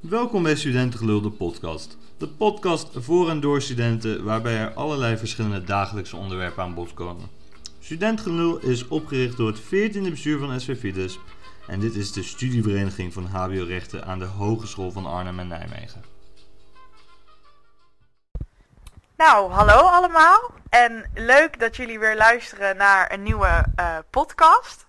Welkom bij Studentengelul, de podcast. De podcast voor en door studenten, waarbij er allerlei verschillende dagelijkse onderwerpen aan bod komen. Studentgelul is opgericht door het 14e bestuur van SV Fides en dit is de studievereniging van HBO-rechten aan de Hogeschool van Arnhem en Nijmegen. Nou, hallo allemaal. En leuk dat jullie weer luisteren naar een nieuwe eh, podcast.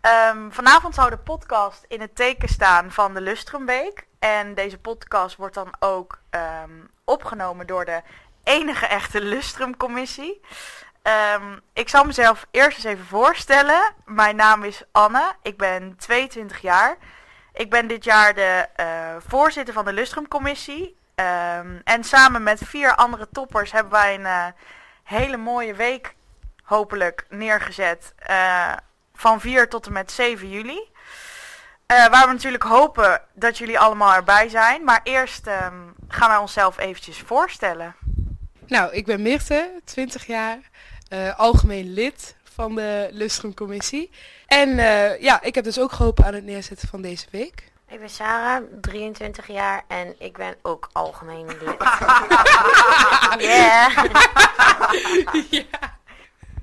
Ehm, vanavond zou de podcast in het teken staan van de Lustrumweek. En deze podcast wordt dan ook ehm, opgenomen door de enige echte Lustrumcommissie. Ehm, ik zal mezelf eerst eens even voorstellen. Mijn naam is Anne. Ik ben 22 jaar. Ik ben dit jaar de eh, voorzitter van de Lustrumcommissie. Ehm, en samen met vier andere toppers hebben wij een eh, hele mooie week hopelijk neergezet. eh, van 4 tot en met 7 juli. Eh, waar we natuurlijk hopen dat jullie allemaal erbij zijn. Maar eerst ehm, gaan wij onszelf eventjes voorstellen. Nou, ik ben Mirte, 20 jaar, eh, algemeen lid van de Lustrumcommissie. En eh, ja, ik heb dus ook geholpen aan het neerzetten van deze week. Ik ben Sarah, 23 jaar en ik ben ook algemeen lid. yeah.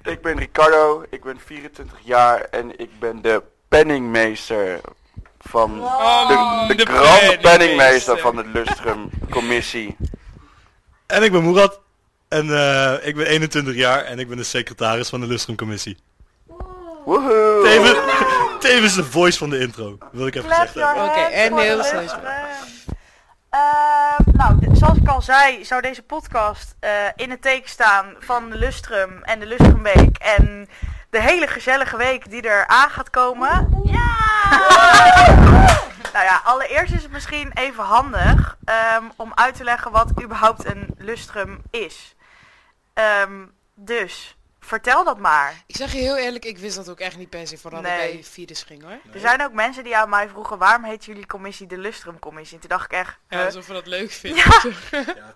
Ik ben Ricardo, ik ben 24 jaar en ik ben de penningmeester van Oh, de, de, krant penningmeester van de Lustrum Commissie. En ik ben Moerad. En eh, ik ben 21 jaar en ik ben de secretaris van de Lustrumcommissie. Woehoe! Tevens, tevens de voice van de intro, wil ik even Clap gezegd your hebben. hands Oké, en voor de heel snel. lucht. Eh, nou, d- zoals ik al zei, zou deze podcast eh, in het teken staan van de Lustrum en de Lustrumweek. En de hele gezellige week die er aan gaat komen. Ja! nou ja, allereerst is het misschien even handig ehm, om uit te leggen wat überhaupt een Lustrum is. Ehm, dus, vertel dat maar. Ik zeg je heel eerlijk, ik wist dat ook echt niet per se, vooral Nee. bij virus ging hoor. Er zijn ook mensen die aan mij vroegen, waarom heet jullie commissie de Lustrumcommissie? Toen dacht ik echt, Ja, huh? alsof we dat leuk vinden. Ja,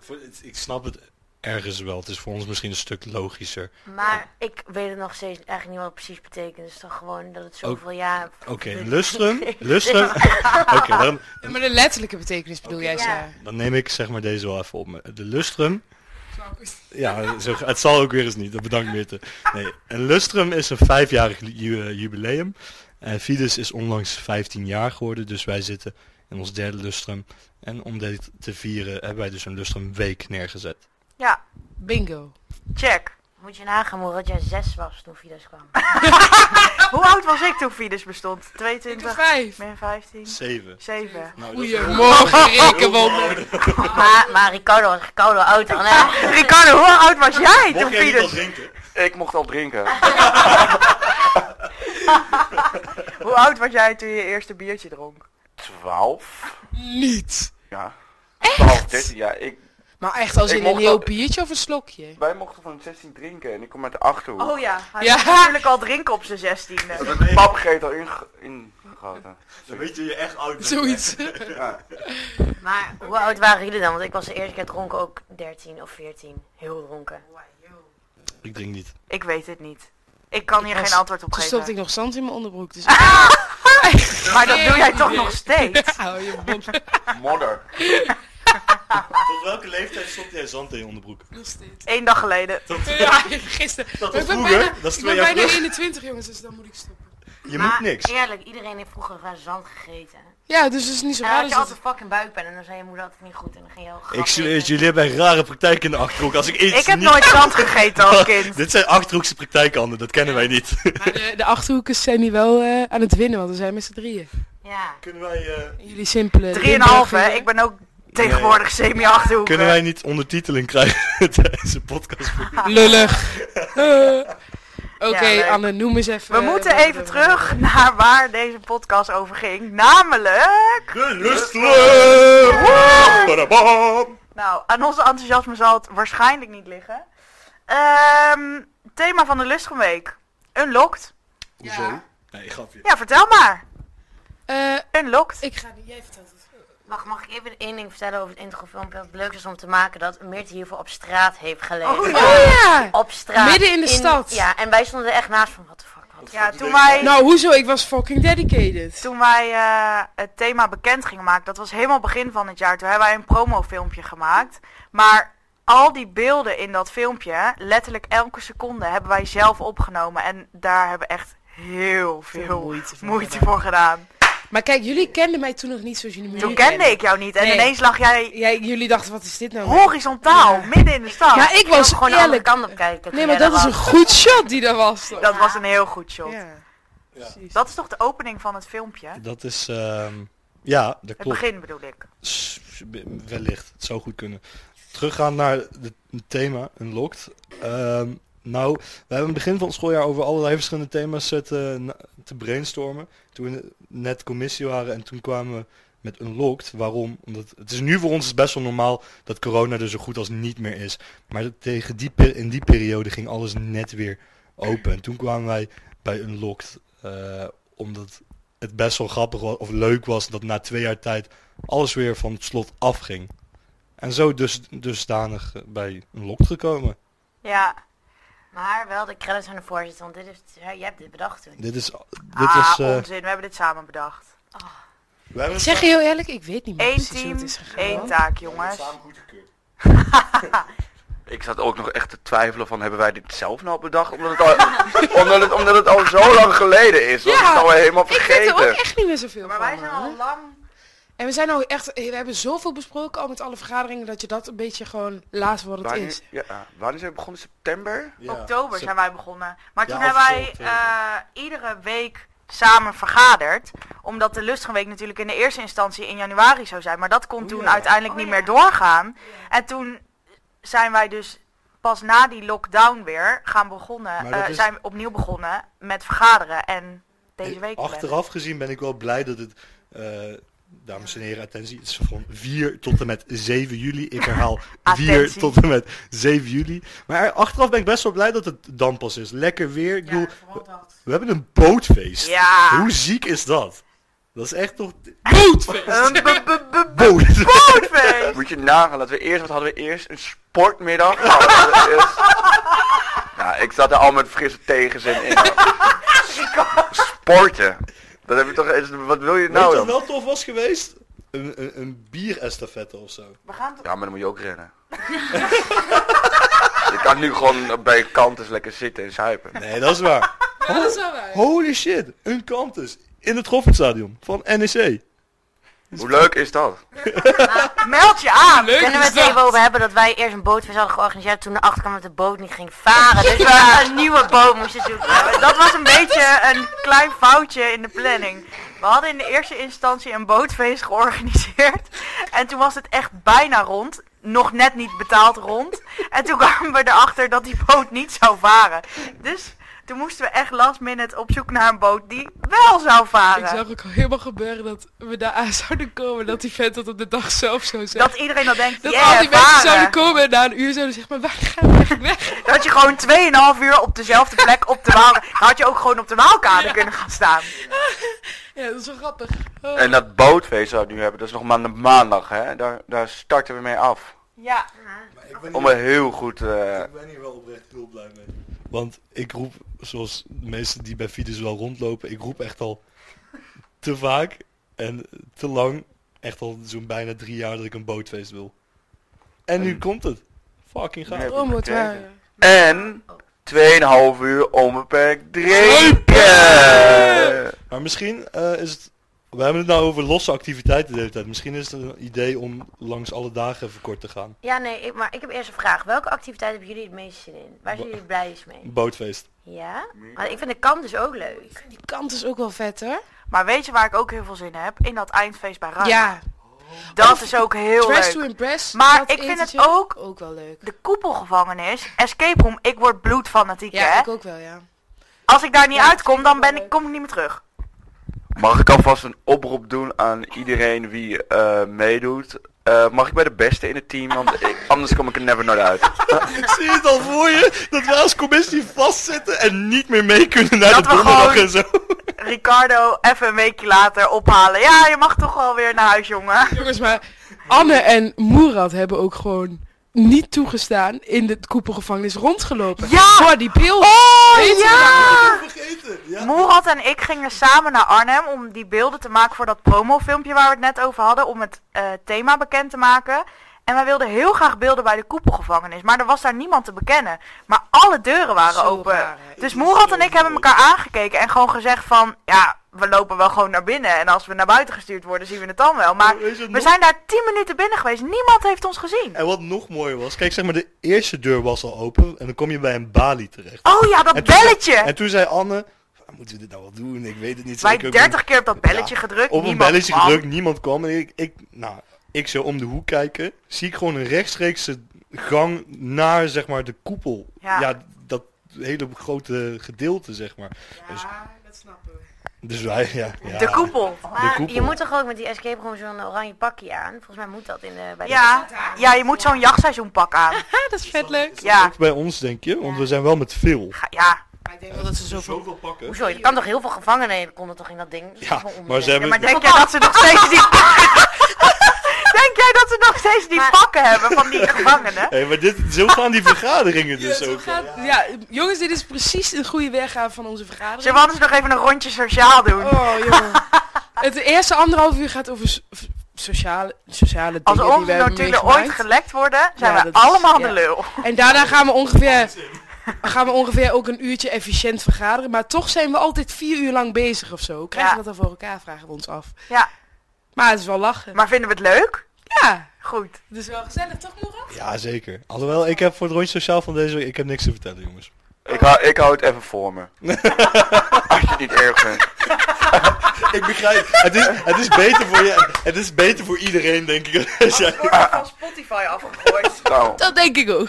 voor- het- ik snap het ergens wel. Het is voor ons misschien een stuk logischer. Maar ik weet het nog steeds eigenlijk niet wat het precies betekent. Het is toch gewoon dat het zoveel jaar... Oké, Lustrum, Lustrum. Oké, dan, Ja, maar de letterlijke betekenis bedoel jij, Ja. Sarah? dan neem ik zeg maar deze wel even op. me. De Lustrum Ja, zo, het zal ook weer eens niet. Dat bedankt Mirte. Nee, een lustrum is een vijfjarig ju- eh, jubileum. En Fides is onlangs 15 jaar geworden, dus wij zitten in ons derde lustrum. En om dit te vieren hebben wij dus een lustrumweek neergezet. ja, Bingo. check. Moet je nagaan hoe dat jij zes was toen Fides kwam. Hoe oud was ik toen Fides bestond? Ik ben 22, vijf. min 15, Zeven. 7. Nou, dat- Goedemorgen, rekenwonder. maar, maar Ricardo was een koude oud dan, hè? Ricardo, hoe oud was jij toen Mocht jij niet al Fides? drinken? Ik mocht al drinken. Hoe oud was jij toen je eerste biertje dronk? 12? Niet. Ja. 12, 13, ja. Ik, Maar echt als Ik in een mocht heel ook- biertje of een slokje? wij mochten van 16 drinken en ik kom uit de Achterhoek. Oh ja, hij Ja. moest natuurlijk al drinken op zijn 16e. Pap geeft al inge- ingegoten. Dan weet je je echt oud bent. Zoiets. Maar hoe oud waren jullie dan? Want ik was de eerste keer dronken ook 13 of 14. Heel dronken. Ik drink niet. Ik weet het niet. Ik kan hier was- geen antwoord op Toen stopte geven. ik nog zand in mijn onderbroek. Dus Maar dat doe jij toch nog steeds? Hou je bond Modder. Tot welke leeftijd stond jij zand in je onderbroek? nog steeds. Eén dag geleden. Ja, gisteren. Dat Maar was ik ben vroeger. bijna, Dat is ik ben twee jaar bijna terug. 21 jongens, dus dan moet ik stoppen. Je maar moet niks. eerlijk, iedereen heeft vroeger gewoon zand gegeten. Ja, dus het is niet zo En raar. dan had als je het- altijd fucking buikpijn en dan zei je moeder altijd niet goed. En dan ging je heel Ik grappig zweer het, eten. jullie hebben een rare praktijk in de Achterhoek. Als ik iets Ik heb niet- nooit zand gegeten als kind. Dit zijn Achterhoekse praktijken, Anne. Dat kennen wij niet. Maar de, de achterhoekers zijn nu wel eh, aan het winnen, want we zijn met z'n drieën. Ja. Kunnen wij, eh, En jullie simpele. 3,5 hè, Limburgers. ik ben ook tegenwoordig semi-achterhoek. kunnen wij niet ondertiteling krijgen tijdens de podcast? Lullig. Eh. Oké, Ja, leuk. Anne, noem eens even. eh, We moeten wat- even wat- terug naar waar deze podcast over ging. Namelijk... De lustrum! Nou, aan onze enthousiasme zal het waarschijnlijk niet liggen. Ehm, thema van de Lustrumweek. Unlocked. Hoezo? Nee, grapje. Ja, vertel maar. Eh, Unlocked. ik ga niet, jij vertelt het. Mag, mag ik even één ding vertellen over het introfilmpje? Wat leuk is om te maken dat Meert hiervoor op straat heeft gelegen. Oh, Oh ja! Op straat. Midden in de stad. Ja, en wij stonden er echt naast van, wat de fuck. Wat Dat Ja, vond toen ik leuk. wij- Nou, hoezo? Ik was fucking dedicated. Toen wij eh, het thema bekend gingen maken, dat was helemaal begin van het jaar. Toen hebben wij een promofilmpje gemaakt. Maar al die beelden in dat filmpje, letterlijk elke seconde, hebben wij zelf opgenomen. En daar hebben we echt heel Veel veel moeite voor moeite gedaan. voor gedaan. Maar kijk, jullie kenden mij toen nog niet zoals jullie me Toen nu kende kennen. ik jou niet. En Nee. ineens lag jij Jij, jullie dachten, wat is dit nou? horizontaal, Ja. midden in de stad. Ja, ik was gewoon de andere eerlijk. kant op kijken. Nee, maar dat is een goed shot die daar was. toch? Dat was een heel goed shot. Ja. Precies. Dat is toch de opening van het filmpje? Het Dat is... ehm, ja, dat klopt. begin bedoel ik. S- Wellicht, het zou goed kunnen. Teruggaan naar de- het thema, Unlocked. Ehm nou, we hebben in het begin van het schooljaar over allerlei verschillende thema's zitten na- te brainstormen. Toen we net commissie waren en toen kwamen we met Unlocked. Waarom? Omdat het is nu voor ons best wel normaal dat corona er zo goed als niet meer is. Maar dat- tegen die, pe- in die periode ging alles net weer open. En toen kwamen wij bij Unlocked. eh, omdat het best wel grappig was, of leuk was dat na twee jaar tijd alles weer van het slot afging. En zo dus, dusdanig eh, bij een lokt gekomen. Ja, Maar wel de credits aan de voorzitter, want dit is, jij hebt dit bedacht toen. Dit is... Dit ah, is eh, onzin. We hebben dit samen bedacht. we hebben Ik het zeg je heel eerlijk, ik weet niet meer Eén precies hoe team, het is gegaan. één taak, jongens. Ik zat ook nog echt te twijfelen van hebben wij dit zelf nou bedacht? Omdat het al, omdat het, omdat het al zo lang geleden is. Was Ja, het nou helemaal Ik weet er ook vergeten. echt niet meer zoveel Maar van. wij zijn man. al lang... En we zijn al echt, we hebben zoveel besproken al met alle vergaderingen dat je dat een beetje gewoon laat wat het Wanneer, is. ja, ah, wanneer zijn we begonnen? September? Ja, oktober ze- zijn wij begonnen. Maar Ja, toen of hebben zo, wij oktober. eh, iedere week samen vergaderd. Omdat de Lustgenweek natuurlijk in de eerste instantie in januari zou zijn. Maar dat kon Oh, toen ja. uiteindelijk Oh, niet ja. meer doorgaan. En toen zijn wij dus pas na die lockdown weer gaan begonnen. Maar dat eh, is- Zijn we opnieuw begonnen met vergaderen. En deze week... Achteraf gezien ben ik wel blij dat het... eh, dames en heren, attentie. Het is van 4 tot en met 7 juli. Ik herhaal 4 Attentie. tot en met 7 juli. Maar achteraf ben ik best wel blij dat het dan pas is. Lekker weer. Ik bedoel, we hebben een bootfeest. Ja. Hoe ziek is dat? Dat is echt toch... Bootfeest! Een be- be- be- Boot! bootfeest! Moet je nagaan dat we eerst, wat hadden we eerst? Een sportmiddag. Nou, dat hadden we eerst- Nou, ik zat er al met frisse tegenzin in. Sporten. Dat heb je toch eens, wat wil je Weet nou je dan? wat wel tof was geweest? Een, een, een bierestafette of zo. We gaan toch... Ja, maar dan moet je ook rennen. je kan nu gewoon bij een kant eens lekker zitten en zuipen. Nee, dat is waar. Ja, dat is wel waar. Holy shit, een kantus. In het Goffertstadion van E NEC. Hoe leuk is dat? Meld je aan! Leuk Kunnen we is het er even dat. over hebben dat wij eerst een bootvis hadden georganiseerd toen erachter kwam dat de boot niet ging varen. Dus we een nieuwe boot moesten zoeken. Dat was een beetje een klein foutje in de planning. We hadden in de eerste instantie een bootfeest georganiseerd. En toen was het echt bijna rond. Nog net niet betaald rond. En toen kwamen we erachter dat die boot niet zou varen. Dus toen moesten we echt last minute op zoek naar een boot die wel zou Ik varen. zag ook al helemaal gebeuren dat we daar aan zouden komen dat die vent dat op de dag zelf zou zeggen. Dat iedereen dan denkt, Dat yeah, al die mensen zouden varen. komen en na een uur zouden zeggen, maar waar gaan we eigenlijk weg? Dat je gewoon 2,5 uur op dezelfde plek op de Waal... Dan had je ook gewoon op de Waalkade kunnen gaan staan. Ja, dat is wel grappig. Oh. En dat bootfeest dat we nu hebben, dat is nog maar een maandag, hè? Daar, daar starten we mee af. Ja. Ik ben, Om een heel goed... eh, hier wel oprecht heel blij mee. Want ik roep, zoals de meesten die bij Fides wel rondlopen, ik roep echt al te vaak en te lang, echt al zo'n bijna drie jaar dat ik een bootfeest wil. En nu komt het. Fucking gaaf. Nee. Oh, wat Kijk. waar. En 2,5 uur onbeperkt Drinken! drinken! Maar misschien eh, is het... We hebben het nou over losse activiteiten de hele tijd. Misschien is het een idee om langs alle dagen even kort te gaan. Ja, nee, ik, maar ik heb eerst een vraag. Welke activiteit hebben jullie het meeste zin in? Waar zijn jullie het blijst mee? Een bootfeest. Ja? Maar ik vind de kamp dus ook leuk. Die kant is ook wel vet hoor. Maar weet je waar ik ook heel veel zin in heb? In dat eindfeest bij Ruim. Ja, Dat Of is ook Ah, heel Dress to leuk. Impress. Maar dat ik vind het etentje, ook- Ook wel leuk. De koepelgevangenis, escape room, ik word bloedfanatiek Ja, hè. ik ook wel, ja. Als ik daar niet Ja, dat uitkom, vind ik dan ben wel ik, kom ik niet meer terug. Mag ik alvast een oproep doen aan iedereen wie eh, meedoet? Eh, mag ik bij de beste in het team? Want ik- anders kom ik er never nooit uit. Ik zie het al voor je, dat wij als commissie vastzitten en niet meer mee kunnen naar Dat de we donderdag gewoon- en zo. Ricardo, even een weekje later ophalen. Ja, je mag toch wel weer naar huis, jongen. Jongens, maar Anne en Moerad hebben ook gewoon niet toegestaan in de koepelgevangenis rondgelopen. Ja! Voor die pil. Weet Oh je ja! Vergeten, ja. Moerad en ik gingen samen naar Arnhem om die beelden te maken voor dat promofilmpje waar we het net over hadden. Om het eh, thema bekend te maken. En wij wilden heel graag beelden bij de koepelgevangenis. Maar er was daar niemand te bekennen. Maar alle deuren waren Zo open. raar, hè? dus Moerad en ik hebben elkaar aangekeken en gewoon gezegd van... Ja, we lopen wel gewoon naar binnen. En als we naar buiten gestuurd worden zien we het dan wel. Maar Weet je wat we nog- zijn daar 10 minuten binnen geweest. Niemand heeft ons gezien. En wat nog mooier was, kijk zeg maar, de eerste deur was al open en dan kom je bij een balie terecht. Oh ja, dat En toen zei- belletje. En toen zei Anne, moeten we dit nou wel doen? Ik weet het niet Wij zeker. 30 keer op dat belletje Ja, gedrukt. Op een niemand belletje kwam. gedrukt, niemand kwam. En ik, ik, nou, ik zou om de hoek kijken, zie ik gewoon een rechtstreekse gang naar zeg maar de koepel. Ja. dat hele grote gedeelte zeg maar. Dus, dat snappen we. dus wij, ja. ja. De koepel. Maar koepel. je moet toch ook met die escape room zo'n oranje pakje aan? Volgens mij moet dat in de... Bij de- Ja, ja, je moet zo'n jachtseizoenpak aan. Ja, dat is vet leuk. Ja, Bij ons denk je, want we zijn wel met veel. ga- ja. ik denk wel dat ze zoveel... pakken. Hoezo? Je kan toch heel veel gevangenen konden toch in dat ding? Dat is Ja, wel onzin. maar ze ja hebben... maar denk jij dat ze nog steeds die... denk jij dat ze nog steeds die Maar- pakken hebben van die gevangenen? Hé, maar dit, zo gaan die vergaderingen Ja, dus zo ook. gaat- ja, jongens, dit is precies een goede weggaan van onze vergadering. Zullen we anders nog even een rondje sociaal doen? Oh, jongen. Het eerste anderhalf uur gaat over so- sociale, sociale Als dingen die onze we hebben notulen ooit meegemaakt. gelekt worden, zijn Ja, we dat is- allemaal ja. de lul. En daarna gaan we ongeveer... Gaan we ongeveer ook een uurtje efficiënt vergaderen. Maar toch zijn we altijd vier uur lang bezig of zo. Krijgen Ja. we dat dan voor elkaar, vragen we ons af. Ja, Maar het is wel lachen. maar vinden we het leuk? Ja, Goed. het is wel gezellig toch, Moera? Ja, zeker. Alhoewel, ik heb voor het rondje sociaal van deze week, ik heb niks te vertellen, jongens. Ik hou, ik hou het even voor me. Als je het niet erg vindt. ik begrijp. Het is, het is beter voor je. Het is beter voor iedereen, denk ik. Als jij- wordt van Spotify afgegooid. Nou, Dat denk ik ook.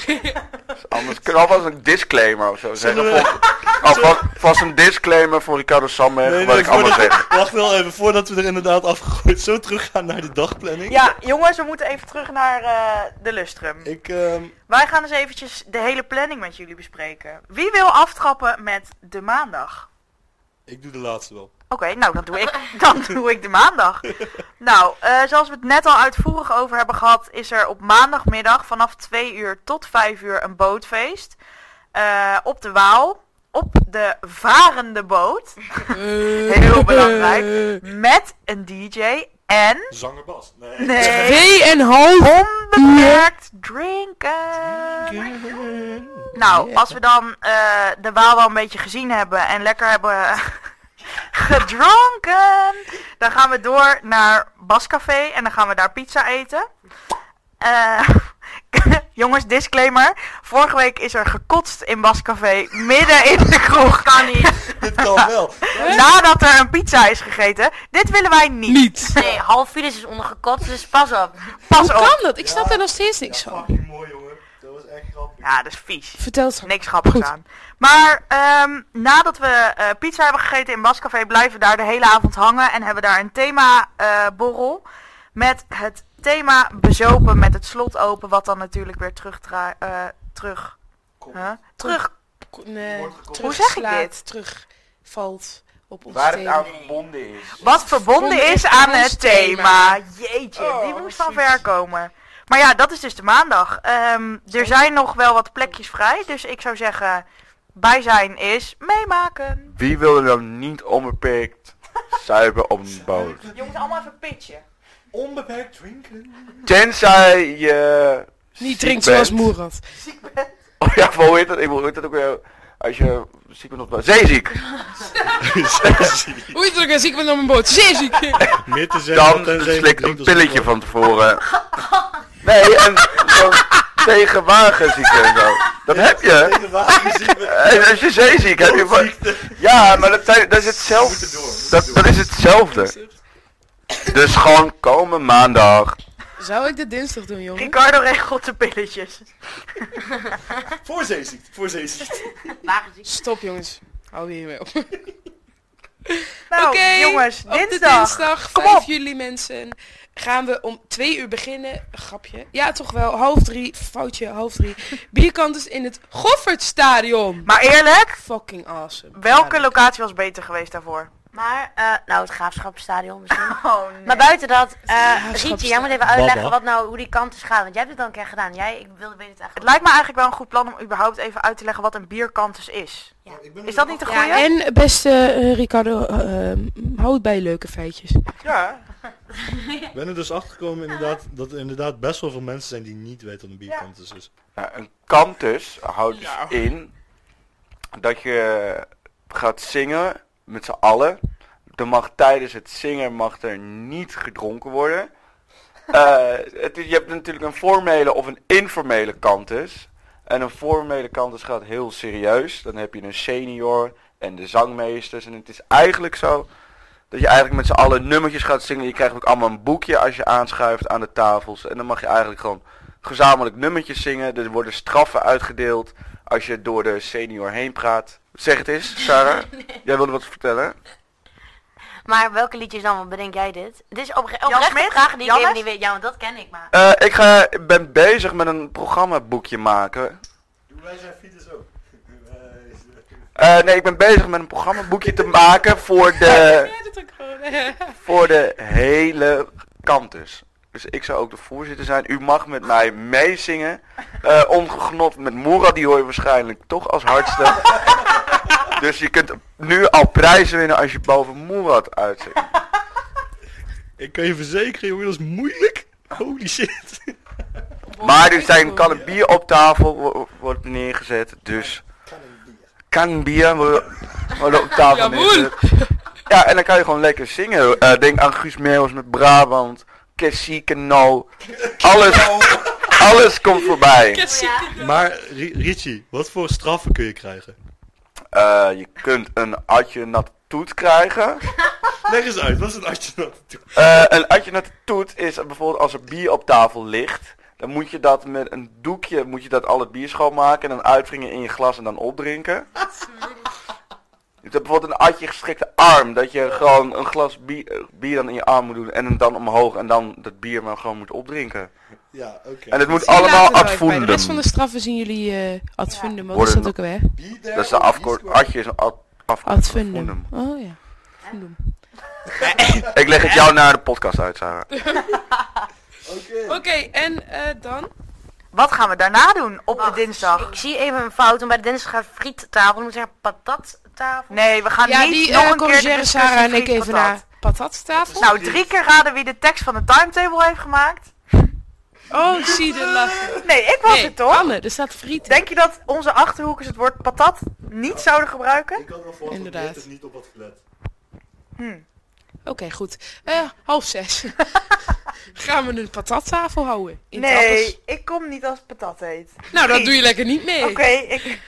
anders kunnen we alvast een disclaimer of zo zeggen. Zullen we- Vol- Alvast vast een disclaimer voor Ricardo Sammer, Nee, wat nee, ik allemaal voordat- zeg. Wacht wel even, voordat we er inderdaad afgegooid zo teruggaan naar de dagplanning. Ja, jongens, we moeten even terug naar eh, de lustrum. Ik, ehm, Wij gaan eens eventjes de hele planning met jullie bespreken. Wie wil aftrappen met de maandag? ik doe de laatste wel. Oké, nou dan doe ik, dan doe ik de maandag. Nou, eh, zoals we het net al uitvoerig over hebben gehad, is er op maandagmiddag vanaf 2 uur tot 5 uur een bootfeest. Eh, op de Waal, op de varende boot, Heel belangrijk. met een DJ en... Zanger Bas. Nee. Nee, Twee en half. onbeperkt drinken. Nou, als we dan eh, de Waal wel een beetje gezien hebben en lekker hebben gedronken, dan gaan we door naar Bascafé en dan gaan we daar pizza eten. Eh, jongens, disclaimer. Vorige week is er gekotst in Bascafé, midden in de kroeg. Kan niet. Dit kan wel. Nadat er een pizza is gegeten. Dit willen wij niet. Niet. Nee, half files is ondergekotst, dus pas op. Pas Hoe op. kan dat? Ik snap daar nog steeds niks van. Fucking mooi, jongen. Dat was echt grappig. Ja, dat is vies. Vertel het Niks grappigs Goed. aan. Maar ehm, nadat we eh, pizza hebben gegeten in Bascafé, blijven we daar de hele avond hangen en hebben daar een thema-borrel. met het thema bezopen met het slot open, wat dan natuurlijk weer terugdra- eh, terug. Huh? Terug. Nee, Hoe zeg ik terugslaat, dit? Terugvalt op ons Waar het aan thema. verbonden is. Wat verbonden Verbonden is is aan ons het thema. thema. Jeetje, Oh, die moest van precies. ver komen. Maar ja, dat is dus de maandag. Ehm, er zijn nog wel wat plekjes vrij, dus ik zou zeggen, bij zijn is meemaken. Wie wil er dan niet onbeperkt zuipen op een boot? Jongens, allemaal even pitchen. Onbeperkt drinken. Tenzij je... Niet ziek drinkt zoals bent. Moerad. Oh ja, maar hoe heet dat? Ik bedoel, hoe heet dat ook weer? Als je ziek bent op... Zeeziek! Oei, druk en ziek met op mijn boot. Zeer ziek. Meer te zeggen Dan tenzij je slikt een drinkt als een pilletje boer. van tevoren. Nee, en zo tegen wagenziekte en zo. Dat heb je. Tegen wagenziekte. En Als je zeeziek heb je... van- Ziekte. Ja, maar dat, zijn- dat is hetzelfde. moeten door, we moeten Dat, dat is hetzelfde. Dus gewoon komen maandag. Zou ik dit dinsdag doen, jongen? Hm? Ricardo regelt de pilletjes. Voor zeeziekte. Voor zeeziekte. Stop, jongens. Hou hier mee op. Oké, Nou, jongens, op de dinsdag. dinsdag Kom 5 op. juli, mensen. Gaan we om twee uur beginnen. Grapje. Ja, toch wel. Half drie. Foutje, half drie. Bierkant is in het Goffertstadion. Maar eerlijk, Fucking awesome. welke Ja, locatie was beter geweest daarvoor? Maar, eh, nou, het graafschapsstadion misschien. Oh nee. Maar buiten dat, eh Graafschapsstadion. Rietje, jij moet even uitleggen Baba. wat nou, hoe die kanten gaan. Want jij hebt het al een keer gedaan. Jij, ik wilde weten het Het eigenlijk. lijkt me eigenlijk wel een goed plan om überhaupt even uit te leggen wat een bierkantus is. Is dat niet de goede? Ja, en beste eh, Ricardo, eh, ehm, hou het bij leuke feitjes. Ja. Ik ben er dus achtergekomen inderdaad, dat er inderdaad best wel veel mensen zijn die niet weten wat een bierkant is. Dus Nou, een kant dus houdt dus Ja. in dat je gaat zingen met z'n allen. Er mag tijdens het zingen mag er niet gedronken worden. Eh, het is, je hebt natuurlijk een formele of een informele kantus. En een formele kantus gaat heel serieus. Dan heb je een senior en de zangmeesters. En het is eigenlijk zo dat je eigenlijk met z'n allen nummertjes gaat zingen. Je krijgt ook allemaal een boekje als je aanschuift aan de tafels. En dan mag je eigenlijk gewoon gezamenlijk nummertjes zingen. Er worden straffen uitgedeeld als je door de senior heen praat. Zeg het eens, Sarah. Jij wilde wat vertellen? Maar welke liedjes dan? Wat bedenk jij dit? Dit is oprecht Jan oprechte Smit? vraag die ik Jannes? helemaal niet weet. Ja, want dat ken ik maar. Eh, ik ga, ik ben bezig met een programmaboekje maken. wij zijn fiets ook. Eh, nee, ik ben bezig met een programmaboekje te maken voor de, Ja, dat ook gewoon. voor de hele kantus. Dus ik zou ook de voorzitter zijn. U mag met mij meezingen. Eh ongenot met Moera, die hoor je waarschijnlijk toch als hardste. Dus je kunt nu al prijzen winnen als je boven Moerad uitzingt. Ik kan je verzekeren, jongen, dat is moeilijk. Holy shit. Maar er zijn kan een bier op tafel wo- wordt neergezet, dus kan een bier wo- wordt op tafel Jawohl. neergezet. Ja, en dan kan je gewoon lekker zingen. Eh, denk aan Guus Meeuwis met Brabant, Kessie Keno. Alles, alles komt voorbij. Oh, Maar Ri- Richie, wat voor straffen kun je krijgen? Eh, je kunt een atje nat toet krijgen. Leg eens uit, wat is een atje dat toe? Eh, een atje nat toet is bijvoorbeeld als er bier op tafel ligt. Dan moet je dat met een doekje, moet je dat al het bier schoonmaken en dan uitwringen in je glas en dan opdrinken. Je hebt bijvoorbeeld een atje gestrekte arm, dat je gewoon een glas bier, eh, bier dan in je arm moet doen en hem dan omhoog en dan dat bier maar gewoon moet opdrinken. Ja, oké. En het moet Zie je later allemaal wel even bij. De advoendum. rest van de straffen zien jullie eh advundum. Wat is Worden dat ook alweer? Dat is de afkort, atje is een ad, afkort Advundum. Oh ja. Advundum. Ik leg het jou naar de podcast uit, Sarah. Oké, en eh, dan? Wat gaan we daarna doen op de Wacht, dinsdag? Ik zie even een fout, want bij de dinsdag gaat friettafel. Ik moet zeggen patattafel. Nee, we gaan Ja, niet die nog eh een keer de corrigeren discussie Sarah en ik friet even patat. naar patattafel. Nou, drie keer raden wie de tekst van de timetable heeft gemaakt. Oh, zie de lachen. Nee, ik was Nee, het toch? Anne, er staat friet. Denk je dat onze Achterhoekers het woord patat niet zouden gebruiken? Ik had wel voor Inderdaad. het niet op wat gelet. Oké, goed. Eh, half zes. Gaan we een patattafel houden? In het Nee, appels? ik kom niet als patat heet. Nou, dat doe je lekker niet mee. Oké, ik...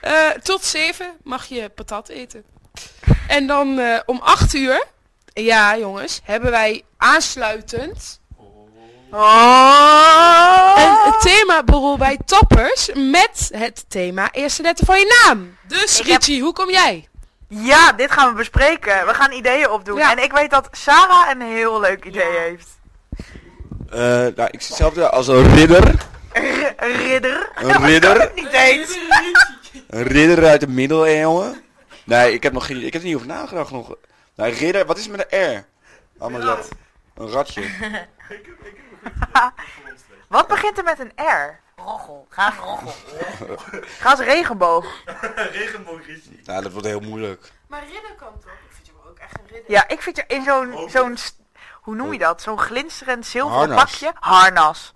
Eh, tot 7 mag je patat eten. En dan eh, om 8 uur, ja jongens, hebben wij aansluitend Oh. een themaborrel bij Tappers met het thema eerste letter van je naam. Dus Ik heb- Richie, hoe kom jij? Ja, dit gaan we bespreken. We gaan ideeën opdoen. Ja. En ik weet dat Sarah een heel leuk idee heeft. nou, ik zie zelf als een ridder. R- een ridder. Een ridder. Niet eens. Een ridder uit de middeleeuwen. Nee, ik heb nog geen... Ik heb er niet over nagedacht nog. Nou, ridder... Wat is het met een R? Allemaal rat. Een ratje. Wat begint er met een R? Roggel. Graag roggel. Ga als regenboog. Regenboog Richie. Nou, dat wordt heel moeilijk. Maar ridder kan toch? Ik vind je ook echt een ridder. Ja, ik vind je in zo'n... zo'n st- hoe noem je dat? Zo'n glinsterend zilveren Harnas. pakje. Harnas.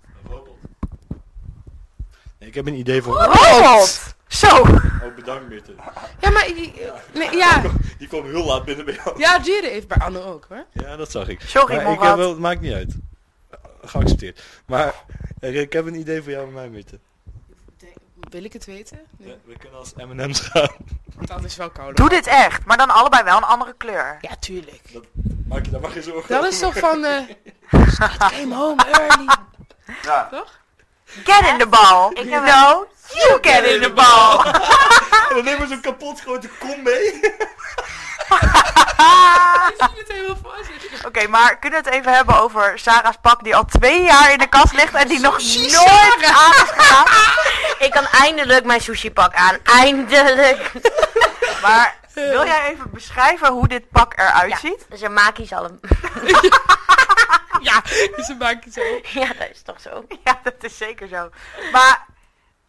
Ik heb een idee voor... Robot! Zo. Oh, bedankt Mirte. Ja, maar... i- i- Nee, ja. Die kwam heel laat binnen bij jou. ja, die heeft bij Anne ook hoor. Ja, dat zag ik. Sorry, maar ik Morad. heb wel, het maakt niet uit. Geaccepteerd. Maar eh, ik heb een idee voor jou en mij, Mirte. Wil ik het weten? Nee. We kunnen als M&M's gaan. Dat is wel kouder. Doe dit echt. Maar dan allebei wel een andere kleur. Ja, tuurlijk. Maak je daar maar geen zorgen Dat is toch van... eh came home early. Ja. Toch? Get in the ball. Ik you know, you get in the ball. Dan nemen we zo'n kapot grote kom mee. Ik zie het helemaal voor Oké, maar kunnen we het even hebben over Sarah's pak die al twee jaar in de kast ligt en die nog nooit aan is gedaan? Ik kan eindelijk mijn sushi pak aan. Eindelijk. Eh. Maar Wil jij even beschrijven hoe dit pak eruit Ja. ziet? Dus een maakiezalm. Ja, ze maken het zo. ja, dat is toch zo. Ja, dat is zeker zo. Maar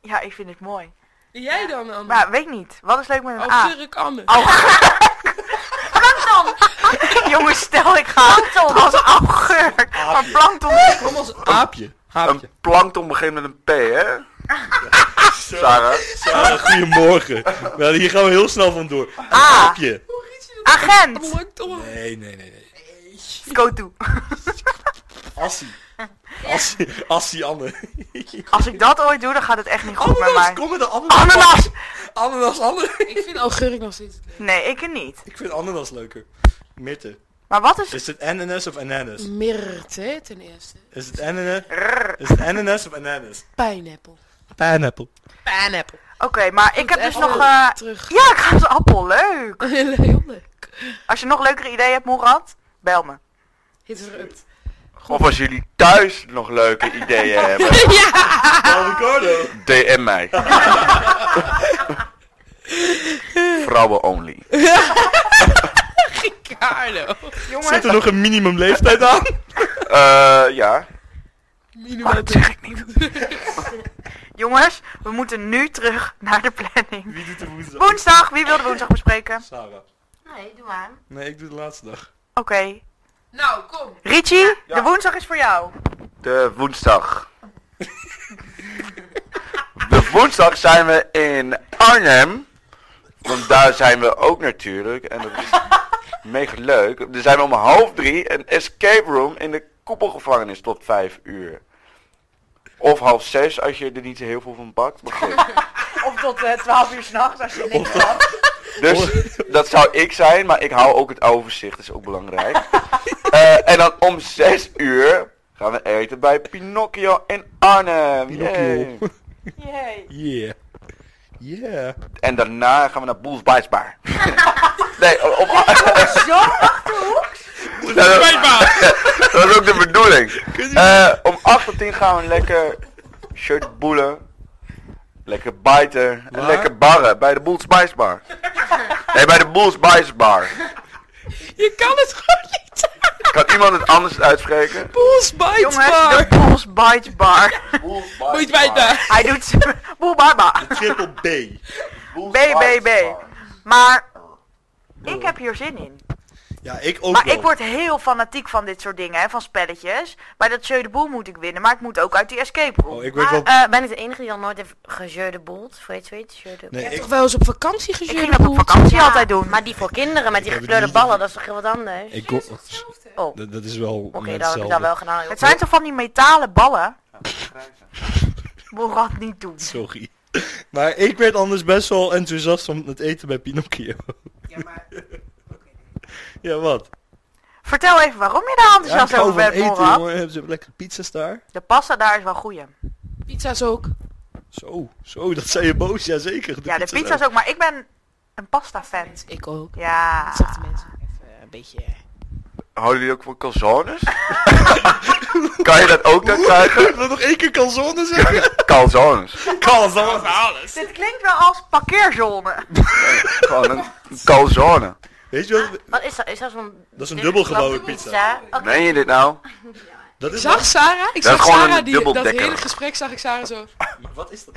ja, ik vind het mooi. Jij dan, Anne? Maar ah. weet niet. Wat is leuk met een oh, A? Turk Anne. Plankton! Jongens, stel ik ga als een augurk. Maar plankton Kom als aapje. Aapje. Een plankton begint met een P, hè? Sarah. Sarah, goedemorgen. Wel, hier gaan we heel snel vandoor. A. Aapje. Agent! Plankton. Nee, nee, nee. nee. Go to. Assie. Assie, Assie Anne. Als ik dat ooit doe, dan gaat het echt Oh niet goed met Ananas, mij. kom met de ananas. Ananas! Ananas, Anne. Ik vind augurk nog steeds het leuk. Nee, ik het niet. Ik vind ananas leuker. Mirte. Maar wat is... Is het ananas of ananas? Mirte ten eerste. Is het ananas? Is het ananas of ananas? Pineapple. Pineapple. Pineapple. Oké, maar ik heb dus nog... eh, Terug. Ja, ik ga als appel. Leuk. Heel leuk. Als je nog leukere ideeën hebt, Moerad, bel me. Hit her up. Of als jullie thuis nog leuke ideeën hebben, ja! Oh, Ricardo. DM mij. Vrouwen only. Ricardo. Zit Jongens, er nog een minimumleeftijd aan? Eh, ja. Minimaal terug. jongens, we moeten nu terug naar de planning. Wie doet de woensdag? Woensdag, wie wil de woensdag bespreken? Sarah. Nee, doe maar. Nee, ik doe de laatste dag. Oké. Nou, kom. Richie, de woensdag is voor jou. De woensdag. De woensdag zijn we in Arnhem. Want daar zijn we ook natuurlijk. En dat is mega leuk. Dan zijn we om half drie een escape room in de koepelgevangenis tot vijf uur. Of half zes als je er niet heel veel van pakt. Maar goed. Of tot eh, 12 uur s'nachts als je links Dus dat zou ik zijn, maar ik hou ook het overzicht, dat is ook belangrijk. Eh, en dan om 6 uur gaan we eten bij Pinocchio in Arnhem. Yay. Jee. Yeah. Yeah. En daarna gaan we naar Boels Bites Bar. nee, op, Zo achterhoeks. dat is ook de bedoeling. Eh, om 8 tot 10 gaan we lekker shirt boelen. Lekker bijten. En Waar? lekker barren bij de Boels Bites Bar. nee, bij de Boels Bites Bar. Je kan het gewoon niet. Kan iemand het anders uitspreken? Poels bites Jongens, de bar. Bulls Bite Bar. Boels Moet bij daar. Hij doet z'n- boel baba. Triple B. Boels B, B, B. Bites Bar. Maar ik heb hier zin in. Ja, ik ook Maar wel. ik word heel fanatiek van dit soort dingen, hè, van spelletjes. Bij dat Jeu de Boel moet ik winnen, maar ik moet ook uit die escape room. Oh, ik werd wel... Eh, ben ik de enige die dan nooit heeft gejeu de boelt? Voor je het weet, jeu de Nee, ik, Toch wel eens op vakantie ik gezeurd. ging dat op vakantie altijd doen. Maar Maar die voor kinderen met die heb het gekleurde niet gezien. ballen, dat is toch heel wat anders? ik kon... Oh, eh, oké, Dat, dat is wel dat heb ik dan wel gedaan. joh. het zijn toch van die metalen ballen? Moerat niet doen. Sorry. Maar ik werd anders best wel enthousiast om het eten bij Pinocchio. Ja, maar... ja, wat? Vertel even waarom je daar Ja, ik enthousiast hou over van bent, eten, Moerat. jongen. Hebben ze lekkere pizza's daar? De pasta daar is wel goeie. Pizza's ook. Zo, zo, dat zijn je boos. Jazeker. Ja, de pizza is ook, maar ik ben een pasta fan. Ik ook. Ja. Dat zegt de mensen ook even eh, een beetje... eh, Houden jullie ook van calzones? kan je dat ook dan krijgen? Wil nog één keer calzone zeggen? Calzones. calzone alles. Dit klinkt wel als parkeerzone. Gewoon een calzone. Weet je wel, Wat is dat? Is dat zo'n... dat is een dikke dubbelgevouwen klap- pizza. Oké. Meen je dit nou? Dat is Zag Sarah? Ik Dat zag is gewoon Sarah een die... Dat dubbeldekker. hele gesprek zag ik Sarah zo Maar wat is dat?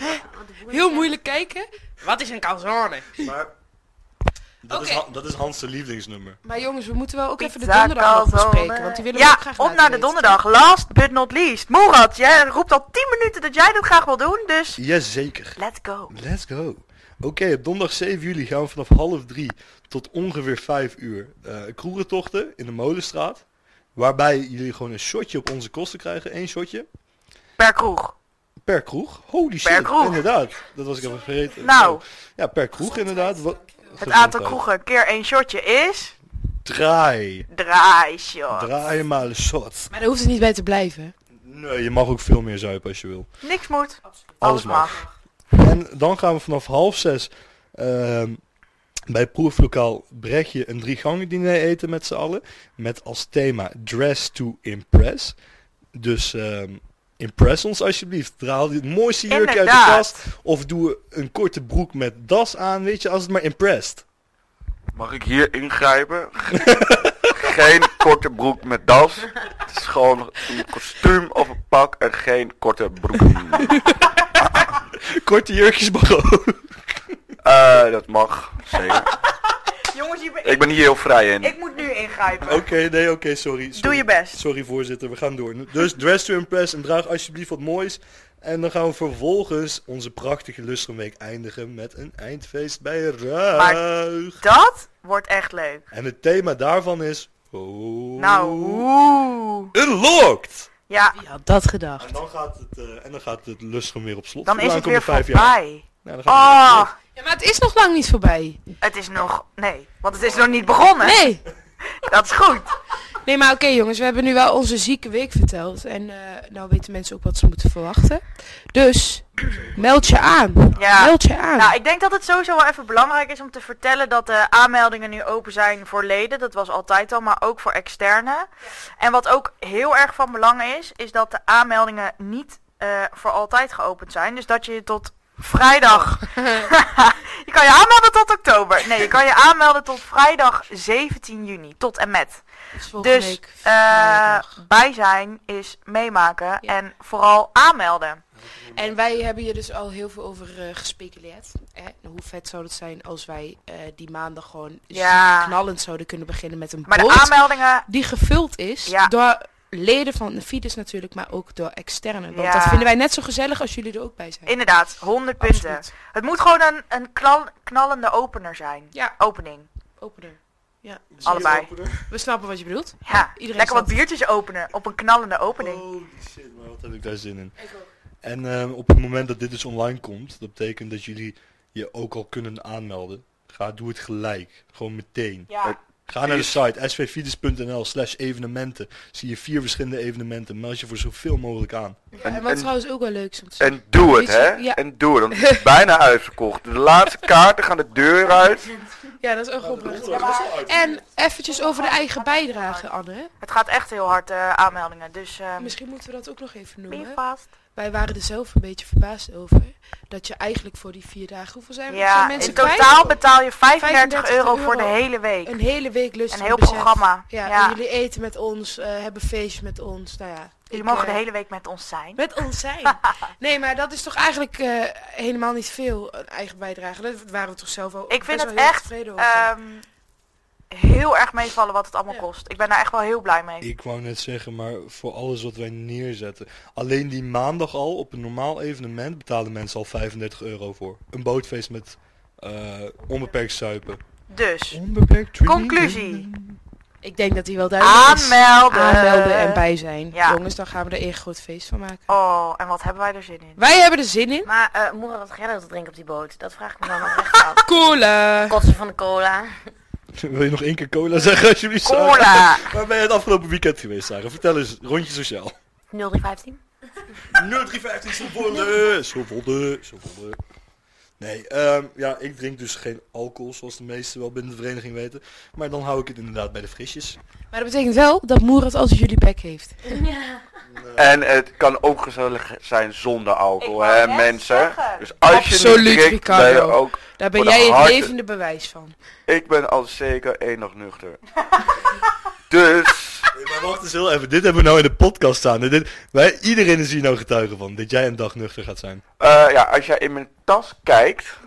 heel moeilijk kijken. Wat is een calzone? Maar... Dat, is, Oké. Han- dat is Hans' lievelingsnummer. Maar jongens, we moeten wel ook even de Pizza, donderdag nog calzone. bespreken. Want die willen we Ja, ook op graag laten naar de weten. donderdag. Last but not least. Moerat, jij roept al 10 minuten dat jij dat graag wil doen, dus Jazeker. let's go. Let's go. Oké, op donderdag 7 juli gaan we vanaf half drie tot ongeveer vijf uur eh kroegentochten in de Molenstraat. Waarbij jullie gewoon een shotje op onze kosten krijgen. Eén shotje Per kroeg. per kroeg. Holy shit, Per kroeg. inderdaad. Dat was ik even vergeten. Nou. Ja, per kroeg inderdaad. Wat- Het aantal Gezondheid. kroegen keer één shotje is... Draai. Draai shot. Draai maar een shot. Maar daar hoeft het niet bij te blijven. Nee, je mag ook veel meer zuipen als je wil. Niks moet. Alles, mag. mag. En dan gaan we vanaf half zes ehm, bij proeflokaal Brechtje een drie gangen diner eten met z'n allen. Met als thema Dress to Impress. Dus ehm, impress ons alsjeblieft. Draal het mooiste jurk uit de Inderdaad. kast. Of doe een korte broek met das aan, weet je, als het maar impressed. Mag ik hier ingrijpen? Ge- geen korte broek met das. Het is gewoon een kostuum of een pak en geen korte broek. Korte jurkjes mag ook. Eh, dat mag, zeker. Jongens, je be- Ik ben hier heel vrij in. ik moet nu ingrijpen. Oké, nee, oké, sorry, sorry. Doe je best. Sorry voorzitter, we gaan door. Dus dress to impress en draag alsjeblieft wat moois. En dan gaan we vervolgens onze prachtige lustrumweek eindigen met een eindfeest bij Ruig. Dat wordt echt leuk. En het thema daarvan is... Oh, Nou, oeh. Unlocked! Ja, Wie had dat gedacht? En dan gaat het, eh, en dan gaat het lustrum weer op slot. dan is het Aankomende weer vijf jaar. voorbij. Ja, dan gaat het weer op Oh, slot. Ja, maar het is nog lang niet voorbij. het is nog... Nee, want het is nog niet begonnen. Nee. Dat is goed. Nee, maar oké jongens, we hebben nu wel onze zieke week verteld. En eh, nou weten mensen ook wat ze moeten verwachten. Dus, meld je aan. Ja. Meld je aan. Nou, ik denk dat het sowieso wel even belangrijk is om te vertellen dat de aanmeldingen nu open zijn voor leden. Dat was altijd al, maar ook voor externe. En wat ook heel erg van belang is, is dat de aanmeldingen niet eh, voor altijd geopend zijn. Dus dat je tot vrijdag... Oh. je kan je aanmelden tot oktober. Nee, je kan je aanmelden tot vrijdag 17 juni. Tot en met. Het is volgende Dus week eh vrijdag. bij zijn is meemaken Ja. en vooral aanmelden. En wij hebben hier dus al heel veel over eh, gespeculeerd. Hè? Hoe vet zou het zijn als wij eh, die maandag gewoon Ja. ziek knallend zouden kunnen beginnen met een Maar de boot aanmeldingen, die gevuld is Ja. door leden van de Fides natuurlijk, maar ook door externen. Want Ja. dat vinden wij net zo gezellig als jullie er ook bij zijn. inderdaad, 100 punten. Absoluut. Het moet gewoon een, een knal- knallende opener zijn. Ja, Opening. opener. Ja, Allebei. we snappen wat je bedoelt. Ja, Iedereen Oh. lekker wat staat- biertjes openen op een knallende opening. Holy shit, maar wat heb ik daar zin in. En eh, op het moment dat dit dus online komt, dat betekent dat jullie je ook al kunnen aanmelden. Ga, doe het gelijk. Gewoon meteen. Ja. Ga naar de site svfides.nl slash evenementen. Zie je vier verschillende evenementen. Meld je voor zoveel mogelijk aan. En- en wat en- trouwens ook wel leuk is om te zeggen. En doe het, Weet je- hè? ja. En doe het, want het is bijna uitverkocht. De laatste kaarten gaan de deur uit. Ja, dat is ook oprecht. En eventjes over de eigen bijdrage, Anne. Het gaat echt heel hard, eh, aanmeldingen. Dus ehm, Misschien moeten we dat ook nog even ben je noemen. vast? Wij waren er zelf een beetje verbaasd over. Dat je eigenlijk voor die vier dagen, hoeveel zijn we zijn Ja, mensen in kwijt? totaal betaal je 35, 35 euro voor de euro. hele week. Een hele week lust Een van heel bezet. programma. Ja, Ja. En jullie eten met ons, eh, hebben feestjes met ons. Nou ja, Jullie ik, mogen de eh, hele week met ons zijn. Met ons zijn. Nee, maar dat is toch eigenlijk eh, helemaal niet veel, een eigen bijdrage. Daar waren we toch zelf al Ik vind best het wel heel echt, tevreden over. Ehm, heel erg meevallen wat het allemaal eh, Ja. kost. Ik ben daar echt wel heel blij mee. Ik wou net zeggen, maar voor alles wat wij neerzetten. Alleen die maandag al, op een normaal evenement, betalen mensen al 35 euro voor. Een bootfeest met eh, onbeperkt suipen. Dus, Onbeperkt drinken. conclusie. Ik denk dat die wel duidelijk is. Aanmelden. Aanmelden en bij zijn. Ja. Jongens, dan gaan we er een groot feest van maken. Oh, en wat hebben wij er zin in? Wij hebben er zin in. Maar eh moeder had geld te drinken op die boot. Dat vraag ik me dan oprecht af. Cola. Kotsen van de cola. Wil je nog één keer cola zeggen alsjeblieft? Sarah? Cola! Waar ben je het afgelopen weekend geweest, Sarah? Vertel eens, rondje sociaal. 0315. 0315 zoveel zoveel zoveel Nee, ehm, ja, ik drink dus geen alcohol, zoals de meesten wel binnen de vereniging weten. Maar dan hou ik het inderdaad bij de frisjes. Maar dat betekent wel dat Moerat altijd jullie bek heeft. En het kan ook gezellig zijn zonder alcohol, Ik wou hè net mensen. zeggen. Dus als je Absoluut, niet drinkt, ben je Ricardo. ook... Daar ben Oh, dat jij het harte. levende bewijs van. Ik ben al zeker enig nuchter. dus... Nee, maar wacht eens heel even, dit hebben we nou in de podcast staan. En Dit, wij, iedereen is hier nou getuige van, dat jij een dag nuchter gaat zijn. Eh, ja, als jij in mijn tas kijkt,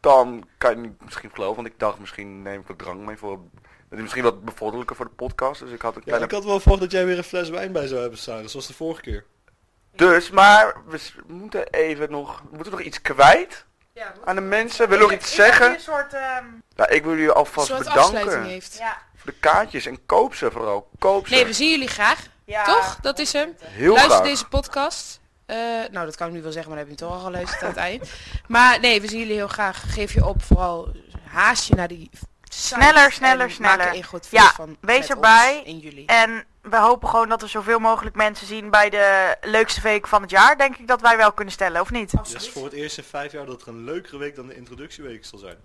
dan kan je niet misschien geloven, want ik dacht misschien neem ik wat drank mee voor... Dat is misschien wat bevorderlijker voor de podcast, dus ik had een Ja, kleine... ik had wel verwacht dat jij weer een fles wijn bij zou hebben, Sarah, zoals de vorige keer. Dus, maar we s- moeten even nog... We moeten nog iets kwijt aan de mensen. Willen we nog iets zeggen? Een soort, ehm, Nou, ik wil jullie Een alvast soort afsluiting bedanken heeft. ja, voor de kaartjes en koop ze vooral. Koop ze. Nee, we zien jullie graag. ja. Toch? Dat is hem. Heel Luister graag. deze podcast. Eh, nou, dat kan ik nu wel zeggen, maar dan heb je hem toch al geluisterd aan het eind. Maar nee, we zien jullie heel graag. Geef je op, vooral haast je naar die site Sneller, sneller, en Maak sneller. er een goed feest Ja, van wees met erbij. ons in jullie. En we hopen gewoon dat we zoveel mogelijk mensen zien bij de leukste week van het jaar. Denk ik dat wij wel kunnen stellen, of niet? Het is voor het eerst in vijf jaar dat er een leukere week dan de introductieweek zal zijn.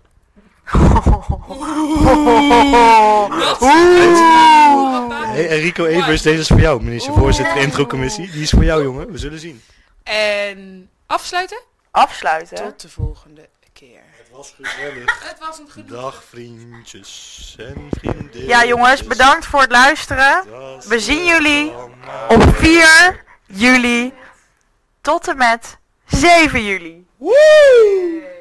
Hey, Enrico Evers, deze is voor jou, minister voorzitter introcommissie. Die is voor jou, jongen. We zullen zien. En afsluiten? Afsluiten. Tot de volgende keer. Het was was gezellig. Het was een gedoe. Dag vriendjes en vriendinnen. Ja, jongens, bedankt voor het luisteren. Dat We zien was jullie allemaal. Op 4 juli tot en met 7 juli. Woe!